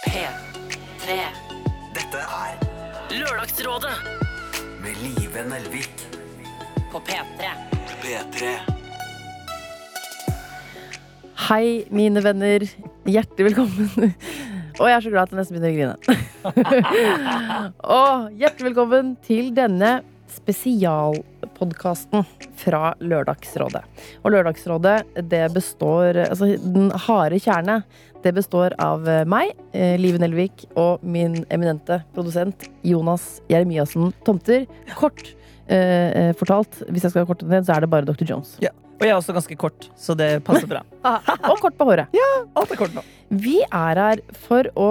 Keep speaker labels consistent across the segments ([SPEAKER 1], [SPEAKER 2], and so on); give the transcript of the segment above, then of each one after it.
[SPEAKER 1] P3
[SPEAKER 2] Dette er
[SPEAKER 1] Lørdagsrådet
[SPEAKER 2] med Live Nelvik.
[SPEAKER 1] på P3
[SPEAKER 2] P3.
[SPEAKER 3] Hei, mine venner. Hjertelig velkommen. Og jeg er så glad at jeg nesten begynner å grine. Og hjertelig velkommen til denne spesialpodkasten fra Lørdagsrådet. Og Lørdagsrådet, det består Altså, den harde kjerne, det består av meg, eh, Live Nelvik, og min eminente produsent Jonas Jeremiassen Tomter. Kort eh, fortalt, hvis jeg skal korte det ned, så er det bare Dr. Jones.
[SPEAKER 4] Og jeg er også ganske kort, så det passer bra.
[SPEAKER 3] Og kort på håret.
[SPEAKER 4] Alt er kort nå.
[SPEAKER 3] Vi er her for å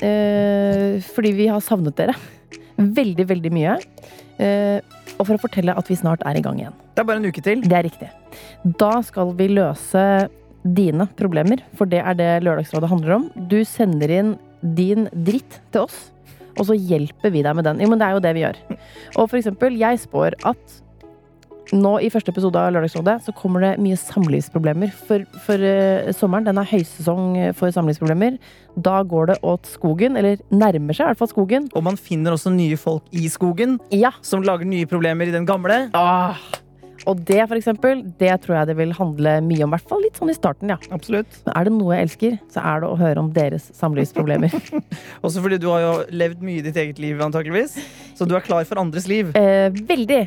[SPEAKER 3] eh, Fordi vi har savnet dere. Veldig, veldig mye. Eh, og for å fortelle at vi snart er i gang igjen.
[SPEAKER 4] Det er bare en uke til.
[SPEAKER 3] Det er riktig. Da skal vi løse dine problemer, for det er det Lørdagsrådet handler om. Du sender inn din dritt til oss, og så hjelper vi deg med den. Jo, men det er jo det vi gjør. Og for eksempel, jeg spår at nå i første episode av Lørdagsrådet så kommer det mye samlivsproblemer. For, for eh, sommeren, den er høysesong for samlivsproblemer. Da går det åt skogen, eller nærmer seg i hvert fall skogen.
[SPEAKER 4] Og man finner også nye folk i skogen
[SPEAKER 3] Ja,
[SPEAKER 4] som lager nye problemer i den gamle.
[SPEAKER 3] Ah. Og det, for eksempel, det tror jeg det vil handle mye om. I hvert fall litt sånn i starten, ja.
[SPEAKER 4] Absolutt.
[SPEAKER 3] Men er det noe jeg elsker, så er det å høre om deres samlivsproblemer.
[SPEAKER 4] Også fordi du har jo levd mye i ditt eget liv, antakeligvis. Så du er klar for andres liv.
[SPEAKER 3] eh, veldig.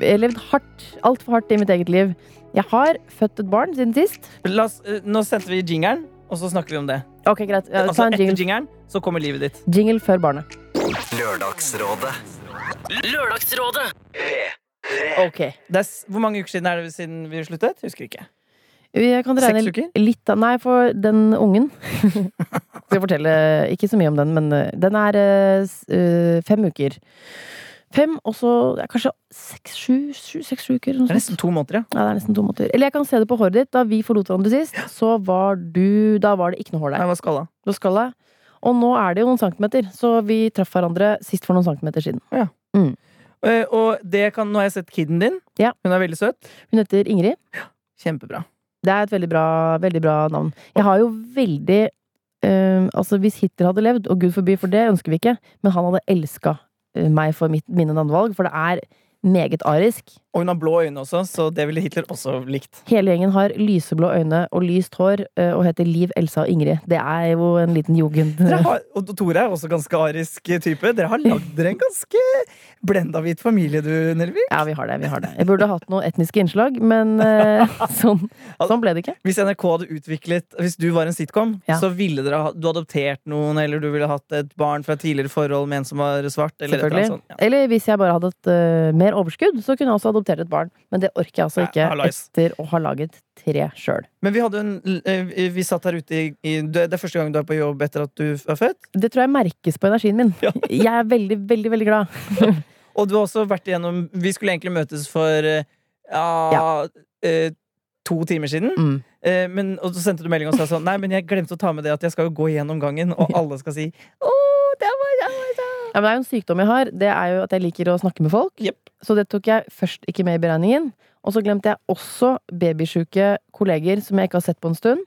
[SPEAKER 3] Jeg har levd hardt, altfor hardt i mitt eget liv. Jeg har født et barn siden sist.
[SPEAKER 4] La oss, eh, nå sendte vi jingeren, og så snakker vi om det.
[SPEAKER 3] Ok, greit. Ja,
[SPEAKER 4] Altså
[SPEAKER 3] ta en
[SPEAKER 4] etter
[SPEAKER 3] jingle,
[SPEAKER 4] jingeren, så kommer livet ditt.
[SPEAKER 3] jingle før barnet.
[SPEAKER 2] Lørdagsrådet.
[SPEAKER 1] Lørdagsrådet
[SPEAKER 3] Ok.
[SPEAKER 4] Det er, s- hvor mange uker siden er det siden vi sluttet? Husker ikke.
[SPEAKER 3] Jeg kan
[SPEAKER 4] Seks
[SPEAKER 3] regne
[SPEAKER 4] uker?
[SPEAKER 3] litt av Nei, for den ungen Skal jeg fortelle ikke så mye om den, men eh, den er eh, s- eh, fem uker. Fem, og så ja, kanskje seks, sju, sju, seks, sju uker. Noe
[SPEAKER 4] Det er nesten to måneder, ja.
[SPEAKER 3] Ja, det er nesten to måneder. Eller jeg kan se det på håret ditt. Da vi forlot hverandre sist, så var du Da var det ikke noe hår
[SPEAKER 4] Nei,
[SPEAKER 3] der.
[SPEAKER 4] hva skalla?
[SPEAKER 3] Du har skalla. Og nå er det jo noen centimeter, så vi traff hverandre sist for noen centimeter siden.
[SPEAKER 4] Eh, Og det kan, nå har jeg sett kiden din.
[SPEAKER 3] Ja.
[SPEAKER 4] Hun er veldig søt.
[SPEAKER 3] Hun heter Ingrid.
[SPEAKER 4] Kjempebra.
[SPEAKER 3] Det er et veldig bra, veldig bra navn. Jeg har jo veldig eh, Altså, hvis Hitler hadde levd, og gud forby, for det ønsker vi ikke, men han hadde elska meg for mitt, mine navnevalg, for det er meget arisk.
[SPEAKER 4] Og hun har blå øyne også, så det ville Hitler også likt.
[SPEAKER 3] Hele gjengen har lyseblå øyne og lyst hår eh, og heter Liv, Elsa og Ingrid. Det er jo en liten jugend.
[SPEAKER 4] Dere har, og Tore er også ganske arisk type. Dere har lagd dere en ganske blenda hvit familie, du, Nelvi.
[SPEAKER 3] Ja, vi har det. vi har det Jeg burde hatt noen etniske innslag, men eh, sånn, sånn ble det ikke.
[SPEAKER 4] Hvis NRK hadde utviklet Hvis du var en sitcom,
[SPEAKER 3] Ja.
[SPEAKER 4] så ville dere ha du adoptert noen, eller du ville hatt et barn fra et tidligere forhold med en som var svart, eller et eller
[SPEAKER 3] Selvfølgelig.
[SPEAKER 4] annet sånt. Ja.
[SPEAKER 3] Eller hvis jeg bare hadde hatt eh, mer overskudd, så kunne jeg også adoptert et barn. Men det orker jeg altså
[SPEAKER 4] Nei,
[SPEAKER 3] ikke
[SPEAKER 4] hallais.
[SPEAKER 3] etter å ha laget tre sjøl.
[SPEAKER 4] Men vi hadde en eh, Vi satt her ute i, i Det er første gang du er på jobb etter at du er født,
[SPEAKER 3] Det tror jeg merkes på energien min.
[SPEAKER 4] Ja.
[SPEAKER 3] Jeg er veldig, veldig veldig glad.
[SPEAKER 4] og du har også vært igjennom Vi skulle egentlig møtes for eh, ja, eh, to timer siden.
[SPEAKER 3] Mm.
[SPEAKER 4] Eh, men, og så sendte du melding og sa sånn Nei, men jeg glemte å ta med det at jeg skal jo gå gjennom gangen, og alle skal si Å, det var det var det."
[SPEAKER 3] Ja, men det er jo en sykdom jeg har. Det er jo at jeg liker å snakke med folk.
[SPEAKER 4] Jepp.
[SPEAKER 3] Så det tok jeg først ikke med i beregningen. Og så glemte jeg også babysjuke kolleger som jeg ikke har sett på en stund.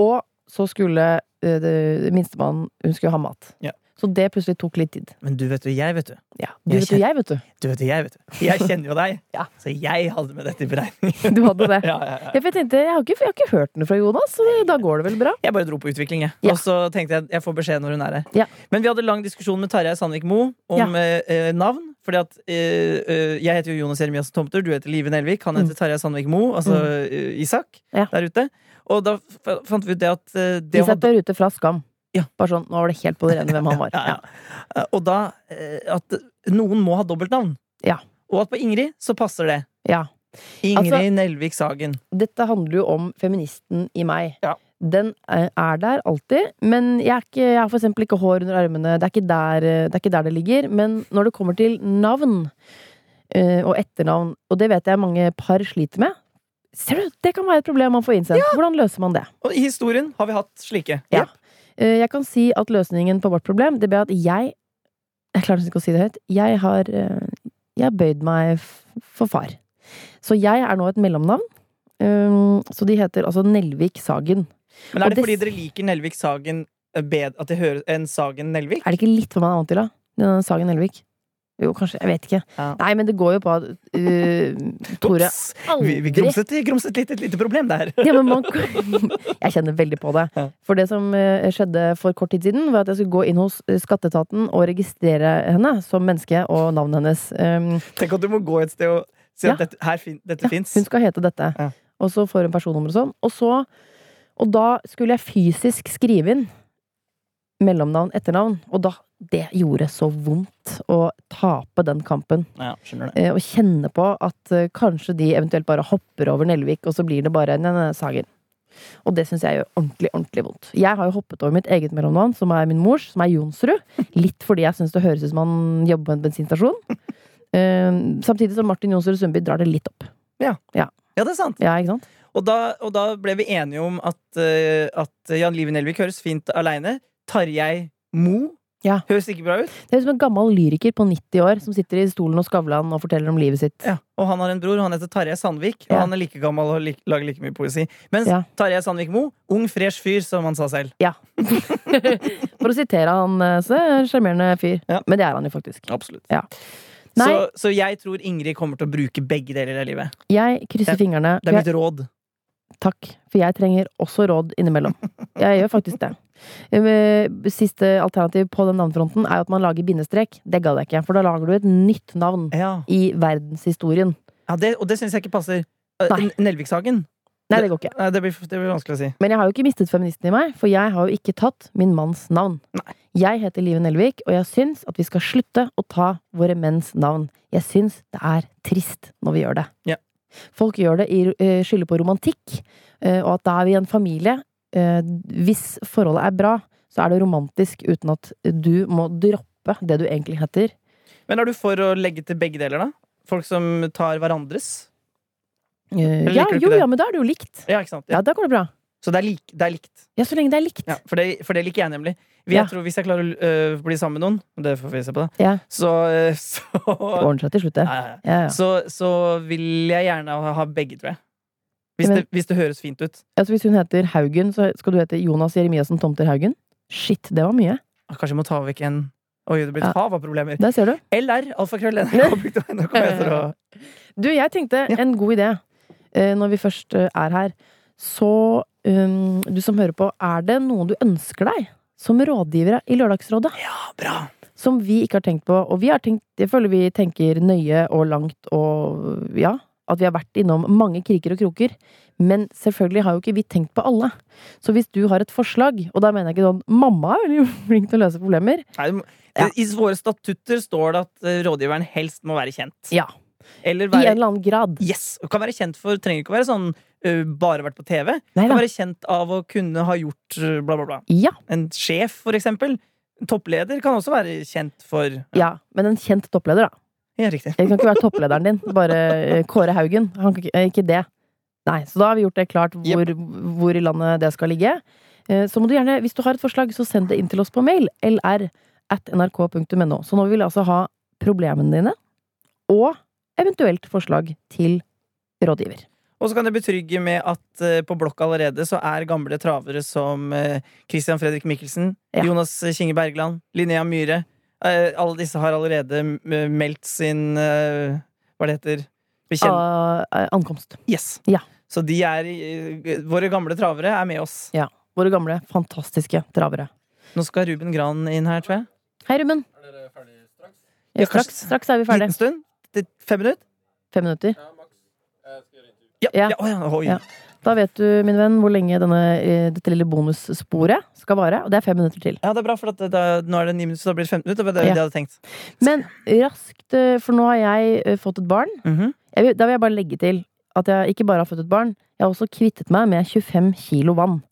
[SPEAKER 3] Og så skulle eh, det- minstemann Hun skulle ha mat.
[SPEAKER 4] Ja.
[SPEAKER 3] Så det plutselig tok litt tid.
[SPEAKER 4] Men du vet jo jeg, vet du.
[SPEAKER 3] Ja. Du
[SPEAKER 4] Jeg
[SPEAKER 3] vet jo jeg, vet du.
[SPEAKER 4] Du vet jo jeg, vet du. Jeg kjenner jo deg.
[SPEAKER 3] Ja.
[SPEAKER 4] Så jeg hadde med dette i beregning.
[SPEAKER 3] Du hadde det.
[SPEAKER 4] Ja, ja, ja.
[SPEAKER 3] Ja, for Jeg tenkte, jeg har, ikke, jeg har ikke hørt noe fra Jonas, så da går det vel bra?
[SPEAKER 4] Jeg bare dro på utvikling, jeg.
[SPEAKER 3] Ja.
[SPEAKER 4] Og så tenkte jeg jeg får beskjed når hun er her.
[SPEAKER 3] Ja.
[SPEAKER 4] Men vi hadde lang diskusjon med Tarjei Sandvik Mo om
[SPEAKER 3] Ja.
[SPEAKER 4] eh, eh, navn. Fordi at eh, eh, Jeg heter jo Jonas Jeremiassen Tomter, du heter Live Nelvik. Han heter Tarjei Sandvik Mo, altså eh, Isak,
[SPEAKER 3] Mm. Ja.
[SPEAKER 4] der ute. Og da f fant vi ut det at eh,
[SPEAKER 3] Vi
[SPEAKER 4] det å ha
[SPEAKER 3] setter ute fra Skam.
[SPEAKER 4] Ja.
[SPEAKER 3] Bare sånn, Nå var det helt på det rene hvem han var.
[SPEAKER 4] Ja, ja. Eh, Og da eh, at noen må ha dobbeltnavn.
[SPEAKER 3] Ja.
[SPEAKER 4] Og at på Ingrid så passer det.
[SPEAKER 3] Ja.
[SPEAKER 4] Ingrid
[SPEAKER 3] Altså-
[SPEAKER 4] Nelvik Sagen.
[SPEAKER 3] Dette handler jo om feministen i meg.
[SPEAKER 4] Ja.
[SPEAKER 3] Den eh, er der alltid, men jeg, er ikke, jeg har for eksempel ikke hår under armene. Det er, ikke der, eh, det er ikke der det ligger. Men når det kommer til navn eh, og etternavn, og det vet jeg mange par sliter med Ser du, Det kan være et problem man får innsendt. Hvordan løser man det?
[SPEAKER 4] Og i historien har vi hatt slike.
[SPEAKER 3] Ja. Eh, Jeg kan si at løsningen på vårt problem Det ble at jeg Jeg klarer nesten ikke å si det høyt Jeg har, eh, jeg har bøyd meg f- for far Så jeg er nå et mellomnavn Um, Så de heter altså Nelvik Sagen
[SPEAKER 4] Men
[SPEAKER 3] Og
[SPEAKER 4] er det
[SPEAKER 3] det-
[SPEAKER 4] fordi dere liker Nelvik Sagen eh, bed, at det høres enn Sagen Nelvik.
[SPEAKER 3] Er det ikke litt hva man er vant til, da? Denne Sagen Elvik? Jo, kanskje. Jeg vet ikke.
[SPEAKER 4] Ja.
[SPEAKER 3] Nei, men det går jo på at uh, Tore
[SPEAKER 4] Ops! Vi, vi
[SPEAKER 3] aldri
[SPEAKER 4] grumset, grumset litt, et lite problem der.
[SPEAKER 3] ja, men man, Jeg kjenner veldig på det.
[SPEAKER 4] Ja.
[SPEAKER 3] For det som eh, skjedde for kort tid siden, var at jeg skulle gå inn hos eh, skatteetaten og registrere henne som menneske og navnet hennes. Um,
[SPEAKER 4] Tenk at du må gå et sted og si at
[SPEAKER 3] Ja.
[SPEAKER 4] dette, her fin, dette
[SPEAKER 3] ja,
[SPEAKER 4] fins.
[SPEAKER 3] hun skal hete dette.
[SPEAKER 4] Ja.
[SPEAKER 3] Og så får hun personnummer og sånn. Og, så, og da skulle jeg fysisk skrive inn mellomnavn, etternavn. Og da Det gjorde så vondt å tape den kampen.
[SPEAKER 4] Ja, skjønner det.
[SPEAKER 3] eh, og kjenne på at eh, kanskje de eventuelt bare hopper over Nelvik, og så blir det bare nei, nei, Sagen. Og det syns jeg gjør ordentlig ordentlig vondt. Jeg har jo hoppet over mitt eget mellomnavn, som er min mors, som er Jonsrud. Litt fordi jeg syns det høres ut som han jobber på en bensinstasjon. Eh, samtidig som Martin Jonsrud Sundby drar det litt opp.
[SPEAKER 4] Ja, det er sant.
[SPEAKER 3] Ja, ikke sant?
[SPEAKER 4] Og da, og da ble vi enige om at, eh, at Jan Live Nelvik høres fint aleine. Tarjei Mo
[SPEAKER 3] Ja.
[SPEAKER 4] høres ikke bra ut.
[SPEAKER 3] Det høres ut som en gammel lyriker på 90 år som sitter i stolen hos Skavlan og forteller om livet sitt.
[SPEAKER 4] Ja, og han har en bror, han heter Tarjei Sandvik. Og
[SPEAKER 3] Ja.
[SPEAKER 4] han er like gammel og lik- lager like mye poesi. Mens
[SPEAKER 3] Ja.
[SPEAKER 4] Tarjei Sandvik Mo, ung, fresh fyr, som han sa selv.
[SPEAKER 3] For å sitere han, eh, så er han en sjarmerende fyr.
[SPEAKER 4] Ja.
[SPEAKER 3] Men det er han jo faktisk.
[SPEAKER 4] Absolutt.
[SPEAKER 3] Nei,
[SPEAKER 4] Så, så jeg tror Ingrid kommer til å bruke begge deler av livet.
[SPEAKER 3] jeg krysser
[SPEAKER 4] Det-
[SPEAKER 3] fingrene.
[SPEAKER 4] Det
[SPEAKER 3] for
[SPEAKER 4] er
[SPEAKER 3] jeg-
[SPEAKER 4] mitt råd.
[SPEAKER 3] Takk, for jeg trenger også råd innimellom. Jeg gjør faktisk det. Eh, Siste alternativ på den navnfronten er jo at man lager bindestrek. Det gadd jeg ikke, for da lager du et nytt navn
[SPEAKER 4] Ja,
[SPEAKER 3] i verdenshistorien.
[SPEAKER 4] ja det, Og det syns jeg ikke passer. eh,
[SPEAKER 3] Nei.
[SPEAKER 4] Nelvikshagen.
[SPEAKER 3] Nei, det går ikke.
[SPEAKER 4] Nei, det blir, det blir vanskelig å si.
[SPEAKER 3] Men jeg har jo ikke mistet feministen i meg, for jeg har jo ikke tatt min manns navn. Jeg heter Live Nelvik, og jeg syns at vi skal slutte å ta våre menns navn. Jeg syns det er trist når vi gjør det.
[SPEAKER 4] Ja.
[SPEAKER 3] Folk gjør det i eh, skylder på romantikk, eh, og at da er vi en familie. Eh, Hvis forholdet er bra, så er det romantisk uten at du må droppe det du egentlig heter.
[SPEAKER 4] Men er du for å legge til begge deler, da? Folk som tar hverandres?
[SPEAKER 3] Eh,
[SPEAKER 4] Eller
[SPEAKER 3] Ja,
[SPEAKER 4] liker du ikke
[SPEAKER 3] jo,
[SPEAKER 4] det?
[SPEAKER 3] ja, men da er det jo likt.
[SPEAKER 4] Ja, ikke sant?
[SPEAKER 3] Ja, da går det bra.
[SPEAKER 4] Så det er, lik, det er likt.
[SPEAKER 3] Ja, så lenge det er likt.
[SPEAKER 4] Ja, for, det, for det liker jeg nemlig. Jeg
[SPEAKER 3] Ja.
[SPEAKER 4] tror Hvis jeg klarer å øh, bli sammen med noen, og det får vi se på, da,
[SPEAKER 3] Ja.
[SPEAKER 4] så, øh,
[SPEAKER 3] Det
[SPEAKER 4] så,
[SPEAKER 3] ordner seg til slutt, det.
[SPEAKER 4] ja, ja, ja.
[SPEAKER 3] Ja, ja.
[SPEAKER 4] så Så vil jeg gjerne ha- ha begge, tror jeg. Hvis,
[SPEAKER 3] Men-
[SPEAKER 4] det, hvis det høres fint ut.
[SPEAKER 3] Altså, hvis hun heter Haugen, så skal du hete Jonas Jeremiassen Tomter Haugen? Shit, det var mye.
[SPEAKER 4] Ah, Kanskje jeg må ta vekk en Oi, det blir et
[SPEAKER 3] Ja.
[SPEAKER 4] hav av problemer.
[SPEAKER 3] Der ser du.
[SPEAKER 4] LR, alfakrøll, nrk.no. kommer jeg til å-
[SPEAKER 3] Du, jeg tenkte
[SPEAKER 4] Ja.
[SPEAKER 3] en god idé eh, når vi først eh, er her. Så um, du som hører på, er det noen du ønsker deg som rådgivere i Lørdagsrådet?
[SPEAKER 4] Ja, bra!
[SPEAKER 3] Som vi ikke har tenkt på. Og vi har tenkt, jeg føler vi tenker nøye og langt og ja. At vi har vært innom mange kriker og kroker. Men selvfølgelig har jo ikke vi tenkt på alle. Så hvis du har et forslag, og da mener jeg ikke sånn Mamma er veldig flink til å løse problemer.
[SPEAKER 4] Nei, du må-
[SPEAKER 3] Ja.
[SPEAKER 4] I våre statutter står det at eh, rådgiveren helst må være kjent.
[SPEAKER 3] Ja. I
[SPEAKER 4] Eller
[SPEAKER 3] en
[SPEAKER 4] være
[SPEAKER 3] eller annen grad.
[SPEAKER 4] Yes! og Kan være kjent for Trenger ikke å være sånn øh, bare vært på TV.
[SPEAKER 3] Nei
[SPEAKER 4] Kan
[SPEAKER 3] da.
[SPEAKER 4] være kjent av å kunne ha gjort øh, bla, bla, bla.
[SPEAKER 3] Ja,
[SPEAKER 4] En sjef, for eksempel. En Toppleder kan også være kjent for Ja,
[SPEAKER 3] ja, men en kjent toppleder, da.
[SPEAKER 4] riktig.
[SPEAKER 3] Jeg kan ikke være topplederen din. Bare eh, Kåre Haugen. Han kan ikke, eh, ikke det. Nei, så da har vi gjort det klart hvor, hvor i landet det skal ligge. Eh, Så må du gjerne, hvis du har et forslag, så send det inn til oss på mail. lr at nrk.no. Så nå vil jeg altså ha problemene dine, og eventuelt forslag til rådgiver.
[SPEAKER 4] Og så kan jeg betrygge med at eh, på blokk allerede så er gamle travere som eh, Christian Fredrik Mikkelsen,
[SPEAKER 3] Ja.
[SPEAKER 4] Jonas Kinge Bergland, Linnea Myhre eh, Alle disse har allerede m- meldt sin eh, Hva det heter? Bekjent...
[SPEAKER 3] Ah, eh, ankomst.
[SPEAKER 4] Yes.
[SPEAKER 3] Ja.
[SPEAKER 4] Så de er eh, Våre gamle travere er med oss.
[SPEAKER 3] Våre gamle, fantastiske travere.
[SPEAKER 4] Nå skal Ruben Gran inn her, tror jeg.
[SPEAKER 3] Hei, Ruben.
[SPEAKER 4] Ja,
[SPEAKER 3] Er dere ferdige straks?
[SPEAKER 4] kanskje-
[SPEAKER 3] Straks, straks er vi ferdige.
[SPEAKER 4] Liten stund? Det- Fem minutter?
[SPEAKER 3] Fem minutter.
[SPEAKER 4] Ja.
[SPEAKER 3] Ja.
[SPEAKER 4] ja. å ja. Oi.
[SPEAKER 3] Ja. Da vet du, min venn, hvor lenge denne, eh, dette lille bonussporet skal vare. Og det er fem minutter til.
[SPEAKER 4] Ja, det er bra, for at det, det, nå er det ni minutter, så da blir det 15 minutter. Det var det
[SPEAKER 3] Ja.
[SPEAKER 4] jeg hadde tenkt.
[SPEAKER 3] Men raskt, eh, for nå har jeg eh, fått et barn.
[SPEAKER 4] Mhm.
[SPEAKER 3] Jeg, vil- da vil jeg bare legge til at jeg ikke bare har fått et barn, jeg har også kvittet meg med 25 kilo vann.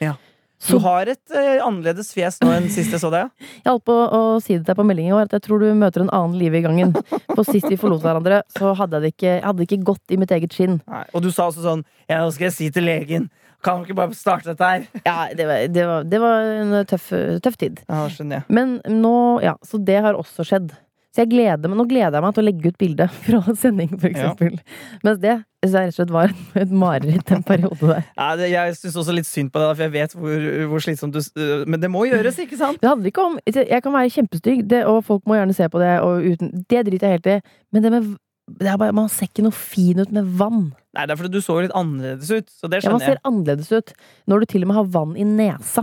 [SPEAKER 4] Ja. Du
[SPEAKER 3] Så
[SPEAKER 4] har et eh, annerledes fjes nå enn sist jeg så deg. ja.
[SPEAKER 3] jeg holdt på å si det til deg på melding i år, at jeg tror du møter en annen liv i gangen. For sist vi forlot hverandre, så hadde jeg det ikke, jeg hadde det ikke gått i mitt eget skinn.
[SPEAKER 4] Nei. Og du sa også sånn Ja, nå skal jeg si til legen. Kan vi ikke bare starte dette her?
[SPEAKER 3] Ja, det var, det var, det var en tøff, tøff tid.
[SPEAKER 4] Ja, skjønner jeg.
[SPEAKER 3] Men nå, ja, så det har også skjedd. Så jeg gleder meg, nå gleder jeg meg til å legge ut bilde fra sending, for
[SPEAKER 4] Ja.
[SPEAKER 3] eksempel. Mens det Så det rett og slett var et mareritt den perioden der.
[SPEAKER 4] Nei, det, jeg syns også litt synd på deg, for jeg vet hvor, hvor slitsomt du s- eh, Men det må gjøres, ikke sant?
[SPEAKER 3] Det handler ikke om Jeg kan være kjempestygg, det, og folk må gjerne se på det, og uten, det driter jeg helt i. Men det med det er bare, man ser ikke noe fin ut med vann.
[SPEAKER 4] Nei, det er fordi du så litt annerledes ut. Så det
[SPEAKER 3] Ja, man
[SPEAKER 4] skjønner
[SPEAKER 3] ser
[SPEAKER 4] jeg.
[SPEAKER 3] annerledes ut når du til og med har vann i nesa.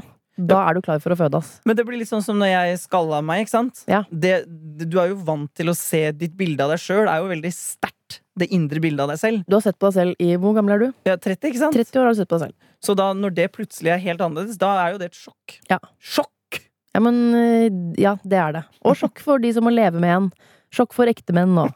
[SPEAKER 3] Da er du klar for å føde, ass.
[SPEAKER 4] Men det blir litt sånn som når jeg skalla meg, ikke sant?
[SPEAKER 3] Ja.
[SPEAKER 4] Det, det- du er jo vant til å se ditt bilde av deg sjøl, er jo veldig sterkt. Det indre bildet av deg selv.
[SPEAKER 3] Du har sett på deg selv i Hvor gammel er du?
[SPEAKER 4] Jeg er 30, ikke sant?
[SPEAKER 3] 30 år har du sett på deg selv.
[SPEAKER 4] Så da, når det plutselig er helt annerledes, da er jo det et sjokk.
[SPEAKER 3] Ja.
[SPEAKER 4] Sjokk!
[SPEAKER 3] Ja, men øh, Ja, det er det. Og sjokk for de som må leve med en. Sjokk for ektemenn nå.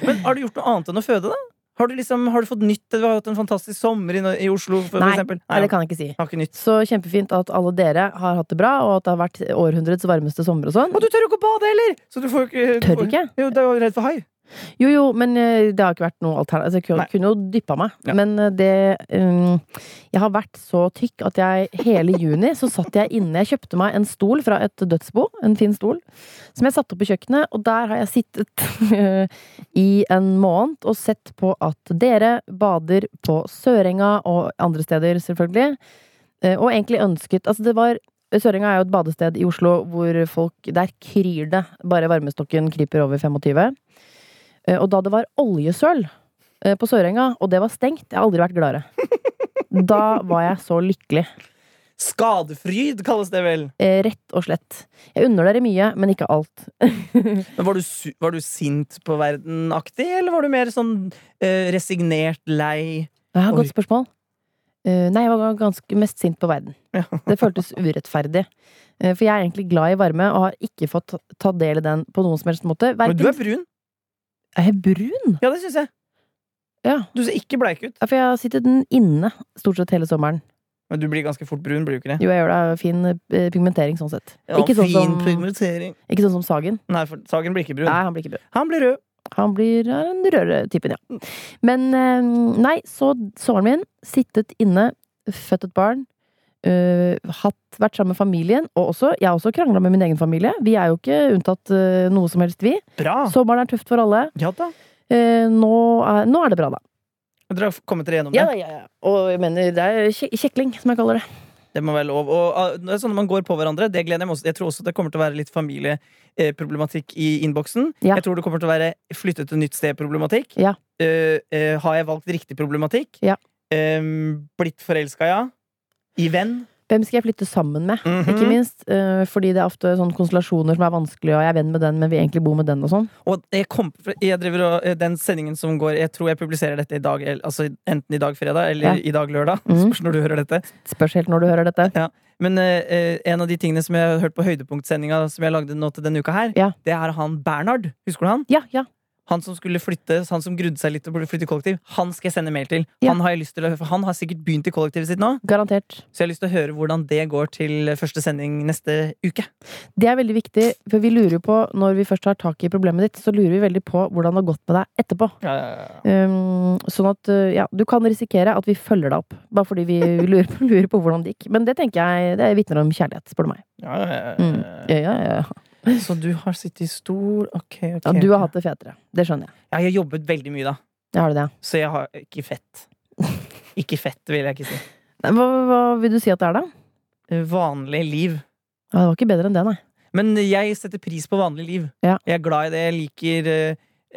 [SPEAKER 4] Men har du gjort noe annet enn å føde, da? Har du, liksom, har du fått nytt? Du har hatt en fantastisk sommer i, i Oslo, for,
[SPEAKER 3] Nei,
[SPEAKER 4] for eksempel.
[SPEAKER 3] Nei, det kan jeg ikke si.
[SPEAKER 4] jeg har ikke nytt.
[SPEAKER 3] Så kjempefint at alle dere har hatt det bra, og at det har vært århundrets varmeste sommer og sånn.
[SPEAKER 4] Og du tør jo ikke å bade heller! Så du får jo ikke du
[SPEAKER 3] Tør
[SPEAKER 4] får-
[SPEAKER 3] ikke?
[SPEAKER 4] Jo, du er jo redd for hai.
[SPEAKER 3] Jo, jo, men eh, det har ikke vært noe alternativ. Altså, jeg kunne,
[SPEAKER 4] Nei.
[SPEAKER 3] kunne jo dyppa meg.
[SPEAKER 4] Ja.
[SPEAKER 3] Men eh, det mm, Jeg har vært så tykk at jeg hele juni så satt jeg inne Jeg kjøpte meg en stol fra et dødsbo, en fin stol, som jeg satte opp på kjøkkenet, og der har jeg sittet i en måned og sett på at dere bader på Sørenga og andre steder, selvfølgelig. Eh, Og egentlig ønsket Altså, det var Sørenga er jo et badested i Oslo hvor folk Der kryr det. Bare varmestokken kryper over 25. Eh, Og da det var oljesøl eh, på Sørenga, og det var stengt Jeg har aldri vært gladere. Da var jeg så lykkelig.
[SPEAKER 4] Skadefryd kalles det vel.
[SPEAKER 3] eh, Rett og slett. Jeg unner dere mye, men ikke alt.
[SPEAKER 4] Men var du, su- var du sint på verden-aktig, eller var du mer sånn eh, resignert, lei?
[SPEAKER 3] Ja,
[SPEAKER 4] Oi.
[SPEAKER 3] godt spørsmål. Eh, Nei, jeg var ganske mest sint på verden.
[SPEAKER 4] Ja.
[SPEAKER 3] Det føltes urettferdig. Eh, For jeg er egentlig glad i varme, og har ikke fått ta del i den på noen som helst måte.
[SPEAKER 4] Men du
[SPEAKER 3] Verken
[SPEAKER 4] er brun.
[SPEAKER 3] er jeg brun?
[SPEAKER 4] Ja, det syns jeg.
[SPEAKER 3] Ja.
[SPEAKER 4] Du ser ikke bleik ut.
[SPEAKER 3] Ja, for jeg har sittet den inne stort sett hele sommeren.
[SPEAKER 4] Men du blir ganske fort brun, blir du ikke det?
[SPEAKER 3] Jo, jeg gjør det. Fin eh, pigmentering sånn sett.
[SPEAKER 4] Ja,
[SPEAKER 3] ikke, sånn
[SPEAKER 4] fin
[SPEAKER 3] som,
[SPEAKER 4] prioritering.
[SPEAKER 3] ikke sånn som Sagen.
[SPEAKER 4] Nei, for Sagen blir ikke brun.
[SPEAKER 3] Nei, han blir ikke brun.
[SPEAKER 4] Han blir rød.
[SPEAKER 3] Han blir er den rødere typen, ja. Men eh, nei, så sommeren min. Sittet inne, født et barn. eh, hatt, vært sammen med familien, og også, jeg har også krangla med min egen familie. Vi er jo ikke unntatt eh, noe som helst, vi.
[SPEAKER 4] Bra.
[SPEAKER 3] Sommeren er tøft for alle.
[SPEAKER 4] Ja da.
[SPEAKER 3] Eh, nå, er, nå er det bra, da.
[SPEAKER 4] Dere har kommet dere gjennom det.
[SPEAKER 3] Ja, ja, ja. Og jeg mener, det er kje- kjekling, som jeg kaller det.
[SPEAKER 4] Det må være lov. Og ah, det er sånn at man går på hverandre. Det gleder jeg meg også. Jeg tror også det kommer til å være litt familieproblematikk i innboksen.
[SPEAKER 3] Ja.
[SPEAKER 4] Jeg tror det kommer til å være flytte til nytt sted-problematikk.
[SPEAKER 3] Ja.
[SPEAKER 4] Eh, eh, har jeg valgt riktig problematikk?
[SPEAKER 3] Ja.
[SPEAKER 4] Eh, blitt forelska, ja. I venn.
[SPEAKER 3] Hvem skal jeg flytte sammen med? Ikke minst, eh, fordi det er ofte sånne konstellasjoner som er vanskelig, og jeg er venn med den, men vil egentlig bo med den og sånn.
[SPEAKER 4] Og jeg kom, jeg driver og, eh, den sendingen som går Jeg tror jeg publiserer dette i dag, el- altså enten i dag fredag
[SPEAKER 3] Ja.
[SPEAKER 4] eller i dag lørdag.
[SPEAKER 3] Mhm.
[SPEAKER 4] Spørs når du hører dette.
[SPEAKER 3] Spørs helt når du hører dette.
[SPEAKER 4] Men eh, eh, en av de tingene som jeg har hørt på høydepunktsendinga som jeg lagde nå til denne uka her,
[SPEAKER 3] Ja.
[SPEAKER 4] det er han Bernhard. Husker du han?
[SPEAKER 3] Ja, ja.
[SPEAKER 4] Han som skulle flytte, han som grudde seg litt til å flytte i kollektiv, han skal jeg sende mail til.
[SPEAKER 3] Ja.
[SPEAKER 4] Han har jeg lyst til å høre, for han har sikkert begynt i kollektivet sitt nå,
[SPEAKER 3] Garantert.
[SPEAKER 4] så jeg har lyst til å høre hvordan det går til første sending neste uke.
[SPEAKER 3] Det er veldig viktig, for vi lurer jo på, når vi først har tak i problemet ditt, så lurer vi veldig på hvordan det har gått med deg etterpå. Um, sånn at uh, ja, du kan risikere at vi følger deg opp, bare fordi vi lurer på, lurer på hvordan det gikk. Men det tenker jeg det vitner om kjærlighet, spør du meg. Mm. Ja, ja, ja.
[SPEAKER 4] Så du har sittet i stol Ok, ok.
[SPEAKER 3] ja, du har hatt det fetere. Det skjønner jeg.
[SPEAKER 4] Ja, Jeg har jobbet veldig mye, da.
[SPEAKER 3] Jeg har det, det.
[SPEAKER 4] Så jeg har ikke fett. Ikke fett, vil jeg ikke si.
[SPEAKER 3] Nei, Hva, hva vil du si at det er, da?
[SPEAKER 4] Vanlig liv.
[SPEAKER 3] Ja, det var ikke bedre enn det, nei.
[SPEAKER 4] Men jeg setter pris på vanlig liv.
[SPEAKER 3] Ja.
[SPEAKER 4] Jeg er glad i det. Jeg liker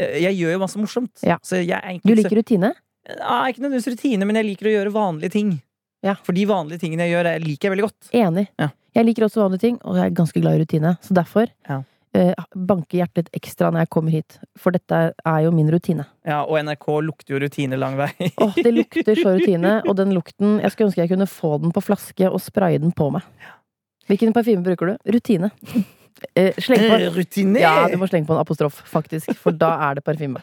[SPEAKER 4] eh, Jeg gjør jo masse morsomt.
[SPEAKER 3] Ja.
[SPEAKER 4] Så jeg er egentlig
[SPEAKER 3] Du
[SPEAKER 4] ikke så-
[SPEAKER 3] liker rutine?
[SPEAKER 4] Ja, Ah, ikke nødvendigvis rutine, men jeg liker å gjøre vanlige ting.
[SPEAKER 3] Ja.
[SPEAKER 4] For de vanlige tingene jeg gjør, er- liker jeg veldig godt.
[SPEAKER 3] Enig.
[SPEAKER 4] Ja.
[SPEAKER 3] Jeg liker også vanlige ting, og jeg er ganske glad i rutine. Så derfor
[SPEAKER 4] Ja.
[SPEAKER 3] eh, banker hjertet litt ekstra når jeg kommer hit. For dette er jo min rutine.
[SPEAKER 4] Ja, Og NRK lukter jo rutine lang vei.
[SPEAKER 3] Åh, Det lukter så rutine, og den lukten Jeg skulle ønske jeg kunne få den på flaske og spraye den på meg. Hvilken parfyme bruker du? Rutine. Eh, sleng på
[SPEAKER 4] Rutine!
[SPEAKER 3] Ja, du må slenge på en apostrof, faktisk. For da er det parfyme.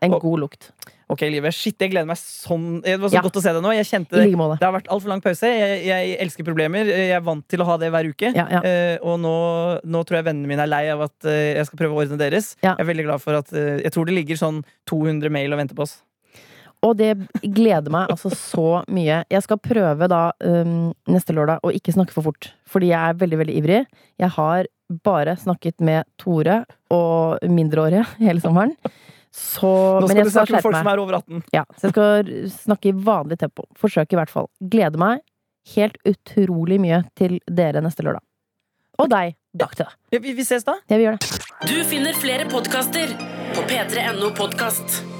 [SPEAKER 3] En
[SPEAKER 4] Og-
[SPEAKER 3] god lukt.
[SPEAKER 4] Ok, livet. Shit, jeg gleder meg sånn. Det var så
[SPEAKER 3] Ja.
[SPEAKER 4] godt å se deg nå. Jeg kjente
[SPEAKER 3] I
[SPEAKER 4] det.
[SPEAKER 3] like måte.
[SPEAKER 4] Det har vært altfor lang pause. Jeg, jeg elsker problemer. Jeg er vant til å ha det hver uke.
[SPEAKER 3] Ja, ja.
[SPEAKER 4] Eh, og nå, nå tror jeg vennene mine er lei av at eh, jeg skal prøve å ordne deres.
[SPEAKER 3] Ja.
[SPEAKER 4] Jeg er veldig glad for at eh, Jeg tror det ligger sånn 200 mail og venter på oss.
[SPEAKER 3] Og det gleder meg altså så mye. Jeg skal prøve da um, neste lørdag å ikke snakke for fort. Fordi jeg er veldig, veldig ivrig. Jeg har bare snakket med Tore og mindreårige hele sommeren. Så
[SPEAKER 4] Nå
[SPEAKER 3] Men
[SPEAKER 4] skal
[SPEAKER 3] jeg
[SPEAKER 4] du
[SPEAKER 3] skal
[SPEAKER 4] snakke med folk
[SPEAKER 3] skjerpe
[SPEAKER 4] som
[SPEAKER 3] meg.
[SPEAKER 4] er over 18.
[SPEAKER 3] Ja, så jeg skal snakke i vanlig tempo. Forsøke i hvert fall. Gleder meg helt utrolig mye til dere neste lørdag. Og deg, doktor.
[SPEAKER 4] Ja, Vi, vi ses da.
[SPEAKER 3] Jeg vil gjøre det.
[SPEAKER 1] Du finner flere podkaster på p3.no podkast.